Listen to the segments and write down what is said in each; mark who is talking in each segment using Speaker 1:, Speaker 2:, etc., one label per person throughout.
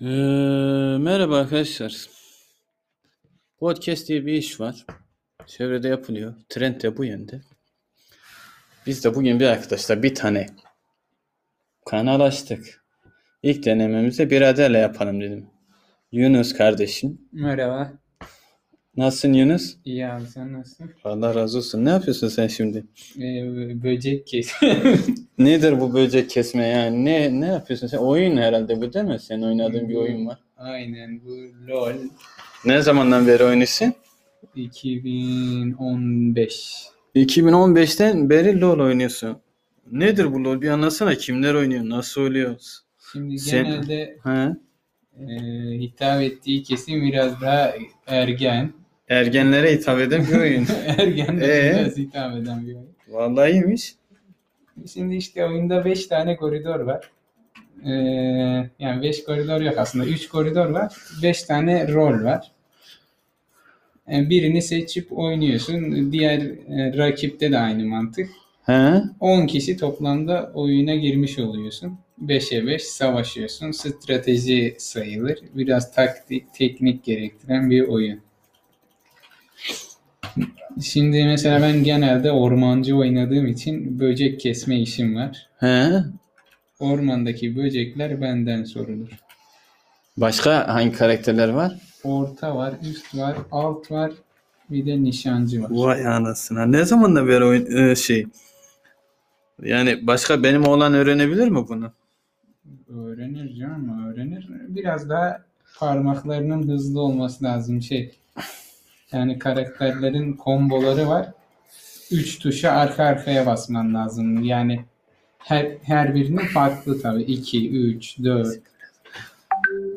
Speaker 1: Ee, merhaba arkadaşlar. Podcast diye bir iş var. Çevrede yapılıyor. Trend de bu yönde. Biz de bugün bir arkadaşlar bir tane kanal açtık. İlk denememizi biraderle yapalım dedim. Yunus kardeşim.
Speaker 2: Merhaba.
Speaker 1: Nasılsın Yunus?
Speaker 2: İyi abi sen nasılsın?
Speaker 1: Allah razı olsun. Ne yapıyorsun sen şimdi?
Speaker 2: Ee, böcek kes.
Speaker 1: Nedir bu böcek kesme yani? Ne ne yapıyorsun sen? Oyun herhalde bu değil mi? Senin oynadığın bir oyun var.
Speaker 2: Aynen bu LOL
Speaker 1: Ne zamandan beri oynuyorsun?
Speaker 2: 2015.
Speaker 1: 2015'ten beri LoL oynuyorsun. Nedir bu LoL? Bir anlatsana kimler oynuyor, nasıl oluyor?
Speaker 2: Şimdi
Speaker 1: Sen-
Speaker 2: genelde
Speaker 1: Ha?
Speaker 2: e, hitap ettiği kesim biraz daha ergen.
Speaker 1: Ergenlere hitap eden bir oyun.
Speaker 2: ergen de
Speaker 1: Ee?
Speaker 2: biraz hitap eden bir oyun.
Speaker 1: Vallahi iyiymiş.
Speaker 2: Şimdi işte oyunda 5 tane koridor var. Ee, yani 5 koridor yok aslında. 3 koridor var. 5 tane rol var. Yani birini seçip oynuyorsun. Diğer e, rakipte de aynı mantık.
Speaker 1: Ha?
Speaker 2: 10 kişi toplamda oyuna girmiş oluyorsun. 5'e 5 savaşıyorsun. Strateji sayılır. Biraz taktik, teknik gerektiren bir oyun. Şimdi mesela ben genelde ormancı oynadığım için böcek kesme işim var.
Speaker 1: Ha?
Speaker 2: Ormandaki böcekler benden sorulur.
Speaker 1: Başka hangi karakterler var?
Speaker 2: Orta var, üst var, alt var, bir de nişancı var.
Speaker 1: Vay anasına. Ne zamandan beri oyun e, şey? Yani başka benim oğlan öğrenebilir mi bunu?
Speaker 2: Öğrenir canım öğrenir. Biraz daha parmaklarının hızlı olması lazım şey. Yani karakterlerin komboları var. Üç tuşa arka arkaya basman lazım. Yani her, her birinin farklı tabii. 2, 3, 4.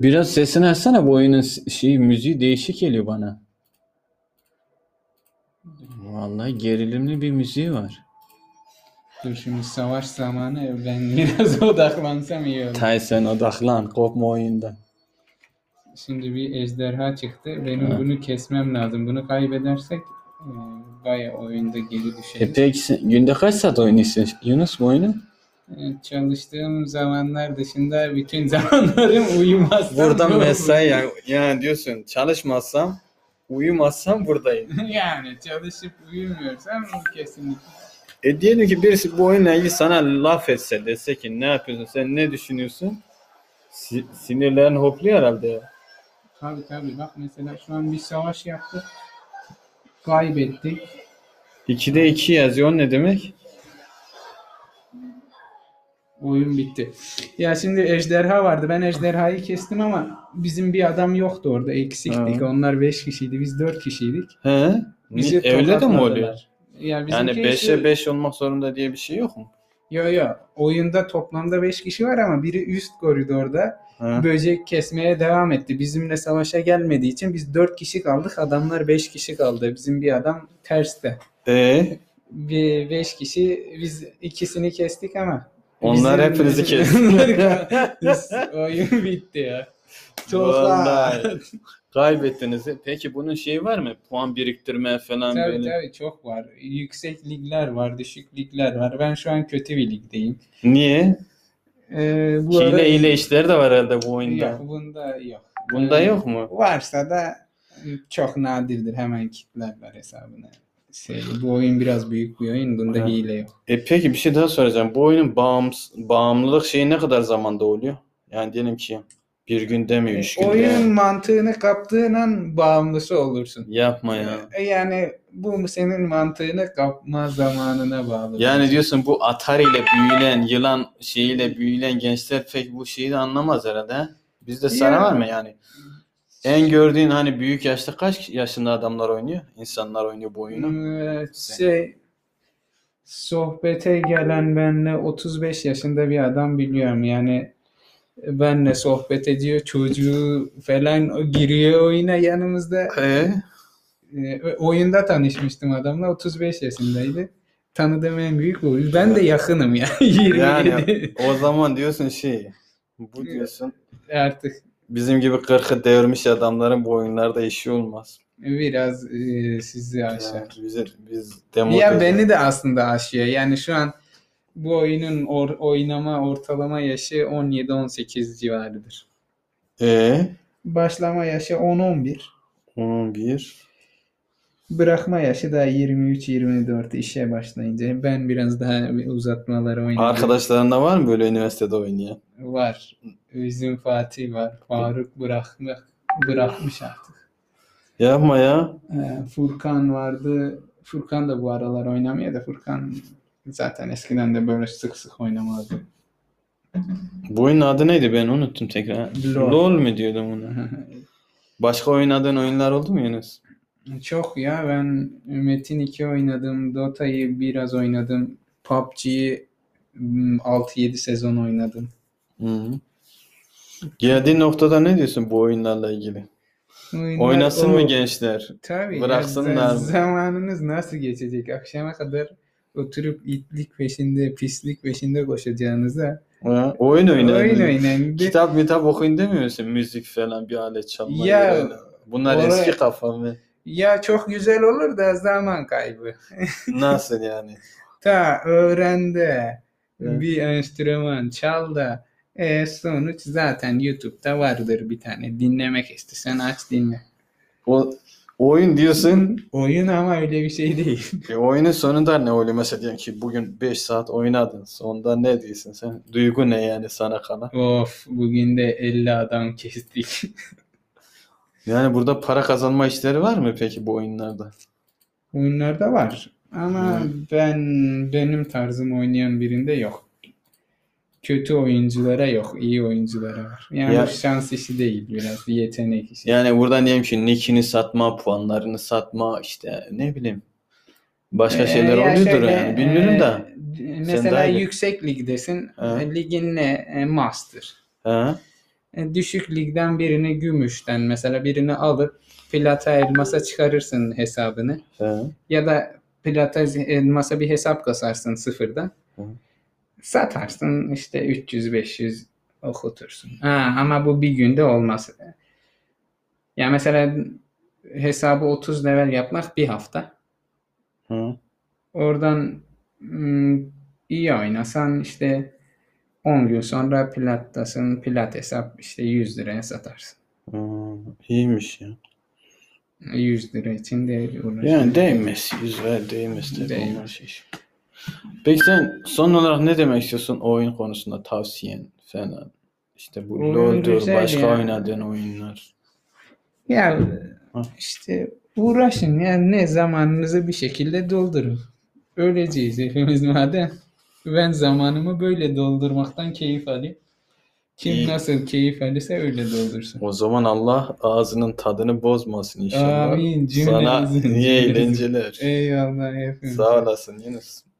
Speaker 1: Biraz sesini açsana bu oyunun s- şeyi müziği değişik geliyor bana. Vallahi gerilimli bir müziği var.
Speaker 2: Dur şimdi savaş zamanı ben biraz odaklansam iyi olur.
Speaker 1: Tyson odaklan, kopma oyundan.
Speaker 2: Şimdi bir ejderha çıktı. Benim bunu kesmem lazım. Bunu kaybedersek e, bayağı oyunda geri
Speaker 1: E
Speaker 2: düşeriz.
Speaker 1: peki sen günde kaç saat oynuyorsun Yunus bu oyunu?
Speaker 2: Evet, Çalıştığım zamanlar dışında bütün zamanlarım uyumaz.
Speaker 1: Buradan mesai yani, yani diyorsun çalışmazsam uyumazsam buradayım.
Speaker 2: Yani çalışıp uyumuyorsam kesinlikle.
Speaker 1: E diyelim ki birisi bu oyunla ilgili sana laf etse dese ki ne yapıyorsun sen ne düşünüyorsun? Si- sinirlerin hopluyor herhalde ya.
Speaker 2: Tabii tabii bak mesela şu an bir savaş yaptık. Kaybettik.
Speaker 1: 2'de 2 yazıyor o ne demek?
Speaker 2: Oyun bitti. Ya şimdi ejderha vardı. Ben ejderhayı kestim ama bizim bir adam yoktu orada. Eksiktik.
Speaker 1: Ha.
Speaker 2: Onlar 5 kişiydi. Biz 4 kişiydik.
Speaker 1: He? E,
Speaker 2: Bizi
Speaker 1: Öyle de mi
Speaker 2: tokatladılar.
Speaker 1: oluyor?
Speaker 2: Ya
Speaker 1: Yani
Speaker 2: bizimki
Speaker 1: 5'e 5 olmak zorunda diye bir şey yok mu?
Speaker 2: Yo yo. Oyunda toplamda 5 kişi var ama biri üst koridorda.
Speaker 1: He.
Speaker 2: böcek kesmeye devam etti. Bizimle savaşa gelmediği için biz 4 kişi kaldık. Adamlar 5 kişi kaldı. Bizim bir adam terste.
Speaker 1: E,
Speaker 2: Bir 5 kişi biz ikisini kestik ama.
Speaker 1: onlar
Speaker 2: bizim-
Speaker 1: hepinizi kesti.
Speaker 2: Biz- Oyun bitti ya.
Speaker 1: Vallahi.
Speaker 2: Çok
Speaker 1: Kaybettiniz. Peki bunun şeyi var mı? Puan biriktirme falan
Speaker 2: Tabii
Speaker 1: böyle.
Speaker 2: tabii çok var. Yüksek ligler var, düşük ligler var. Ben şu an kötü bir ligdeyim.
Speaker 1: Niye?
Speaker 2: Ee, bu ara-
Speaker 1: Hile hile işleri de var herhalde bu oyunda.
Speaker 2: Yok, bunda yok.
Speaker 1: Bunda
Speaker 2: Ee,
Speaker 1: yok mu?
Speaker 2: Varsa da çok nadirdir. Hemen kitlerler hesabına. Şey, bu oyun biraz büyük bir oyun. Bunda
Speaker 1: Evet.
Speaker 2: hile yok.
Speaker 1: E peki bir şey daha soracağım. Bu oyunun bağımsız, bağımlılık şeyi ne kadar zamanda oluyor? Yani diyelim ki bir günde mi, üç günde
Speaker 2: Oyunun
Speaker 1: mi?
Speaker 2: mantığını kaptığın an bağımlısı olursun.
Speaker 1: Yapma ya.
Speaker 2: E, Yani bu senin mantığını kapma zamanına bağlı.
Speaker 1: Yani diyorsun bu Atari ile büyülen, yılan şeyiyle büyülen gençler pek bu şeyi de anlamaz herhalde. he? Bizde sana
Speaker 2: Yani.
Speaker 1: var mı yani? En gördüğün hani büyük yaşta kaç yaşında adamlar oynuyor? İnsanlar oynuyor bu oyunu.
Speaker 2: Ee, şey sohbete gelen benle 35 yaşında bir adam biliyorum. Yani benle sohbet ediyor. Çocuğu falan giriyor oyuna yanımızda.
Speaker 1: E?
Speaker 2: E, oyunda tanışmıştım adamla 35 yaşındaydı. Tanıdığım en büyük bu. Ben de yakınım ya. 27
Speaker 1: Yani o zaman diyorsun şey, bu
Speaker 2: Evet.
Speaker 1: diyorsun
Speaker 2: artık
Speaker 1: bizim gibi kırkı devirmiş adamların bu oyunlarda işi olmaz.
Speaker 2: biraz e, sizi aşar.
Speaker 1: Yani bize, biz demo
Speaker 2: Ya
Speaker 1: dedi.
Speaker 2: beni de aslında aşıyor. Yani şu an bu oyunun or- oynama ortalama yaşı 17-18 civarıdır.
Speaker 1: E
Speaker 2: Başlama yaşı 10-11.
Speaker 1: 11.
Speaker 2: Bırakma yaşı da 23-24 işe başlayınca. Ben biraz daha bir uzatmaları oynadım.
Speaker 1: Arkadaşlarında var mı böyle üniversitede oynayan?
Speaker 2: Var. Bizim Fatih var. Faruk bırakmak bırakmış artık.
Speaker 1: Yapma ya.
Speaker 2: Ee, Furkan vardı. Furkan da bu aralar oynamıyor da Furkan zaten eskiden de böyle sık sık oynamazdı.
Speaker 1: Bu oyunun adı neydi ben unuttum tekrar.
Speaker 2: LOL.
Speaker 1: LOL mu diyordum ona? Başka oynadığın oyunlar oldu mu Yunus?
Speaker 2: Çok ya ben Metin 2 oynadım, Dota'yı biraz oynadım, PUBG'yi mm, 6-7 sezon oynadım.
Speaker 1: Hı. Geldiğin noktada ne diyorsun bu oyunlarla ilgili?
Speaker 2: Oyunlar
Speaker 1: Oynasın
Speaker 2: o-
Speaker 1: mı gençler?
Speaker 2: Tabii ya,
Speaker 1: Bıraksınlar
Speaker 2: z-
Speaker 1: mı?
Speaker 2: Zamanınız nasıl geçecek? Akşama kadar oturup itlik peşinde, pislik peşinde koşacağınıza
Speaker 1: Ha, oyun oynayın.
Speaker 2: oyun oynayın. Bir-
Speaker 1: Kitap mitap okuyun demiyorsun. Müzik falan bir alet çalmayı.
Speaker 2: Ya,
Speaker 1: öyle. Bunlar
Speaker 2: oraya-
Speaker 1: eski kafa mı?
Speaker 2: Ya çok güzel olur da zaman kaybı.
Speaker 1: Nasıl yani?
Speaker 2: Ta öğren de
Speaker 1: Evet.
Speaker 2: bir enstrüman çal da e, sonuç zaten YouTube'da vardır bir tane. Dinlemek istesen aç dinle.
Speaker 1: O oyun diyorsun.
Speaker 2: Oyun ama öyle bir şey değil.
Speaker 1: E, oyunun sonunda ne oluyor? Mesela diyelim ki bugün 5 saat oynadın. Sonunda ne diyorsun sen? Duygu ne yani sana kalan?
Speaker 2: of bugün de 50 adam kestik.
Speaker 1: Yani burada para kazanma işleri var mı peki bu oyunlarda?
Speaker 2: Oyunlarda var ama ben benim tarzım oynayan birinde yok. Kötü oyunculara yok, iyi oyunculara var. Yani
Speaker 1: Ya-
Speaker 2: bu şans işi değil biraz, yetenek işi.
Speaker 1: Yani buradan diyelim ki nickini satma, puanlarını satma işte ne bileyim. Başka şeyler
Speaker 2: Ee, ya
Speaker 1: oluyordur
Speaker 2: şöyle,
Speaker 1: yani. Bilmiyorum
Speaker 2: e,
Speaker 1: da.
Speaker 2: d-
Speaker 1: daha
Speaker 2: Mesela
Speaker 1: iyi bil.
Speaker 2: yüksek ligdesin.
Speaker 1: Ha.
Speaker 2: E, Ligin ne? E, Master.
Speaker 1: Ha?
Speaker 2: E, Düşük ligden birini gümüşten mesela birini alıp plata elmasa çıkarırsın hesabını.
Speaker 1: Ha?
Speaker 2: Ya da plata elmasa bir hesap kasarsın sıfırdan.
Speaker 1: Hı.
Speaker 2: Satarsın işte 300-500 okutursun. Ha, ama bu bir günde olmaz. Ya mesela hesabı 30 level yapmak bir hafta.
Speaker 1: Ha?
Speaker 2: Oradan mm, iyi oynasan işte 10 gün sonra plattasın. Plat hesap işte 100 liraya satarsın.
Speaker 1: Hmm, iyiymiş ya.
Speaker 2: 100 lira için değil uğraşma.
Speaker 1: Yani değmez. Yüz ver değmez tabii.
Speaker 2: Değmez.
Speaker 1: Onlar şey. Peki sen son olarak ne demek istiyorsun o oyun konusunda tavsiyen falan? İşte bu
Speaker 2: Oyun
Speaker 1: LoL'dur,
Speaker 2: güzel
Speaker 1: başka
Speaker 2: ya.
Speaker 1: oynadığın oyunlar.
Speaker 2: Ya
Speaker 1: Ha.
Speaker 2: işte uğraşın yani ne zamanınızı bir şekilde doldurun. Öleceğiz hepimiz madem. Ben zamanımı böyle doldurmaktan keyif alayım. Kim
Speaker 1: İyi.
Speaker 2: nasıl keyif alırsa öyle doldursun.
Speaker 1: O zaman Allah ağzının tadını bozmasın inşallah. Sana
Speaker 2: Amin, cümlemizin,
Speaker 1: iyi
Speaker 2: cümlemizin.
Speaker 1: eğlenceler.
Speaker 2: Eyvallah hepimiz.
Speaker 1: Sağ olasın Yunus.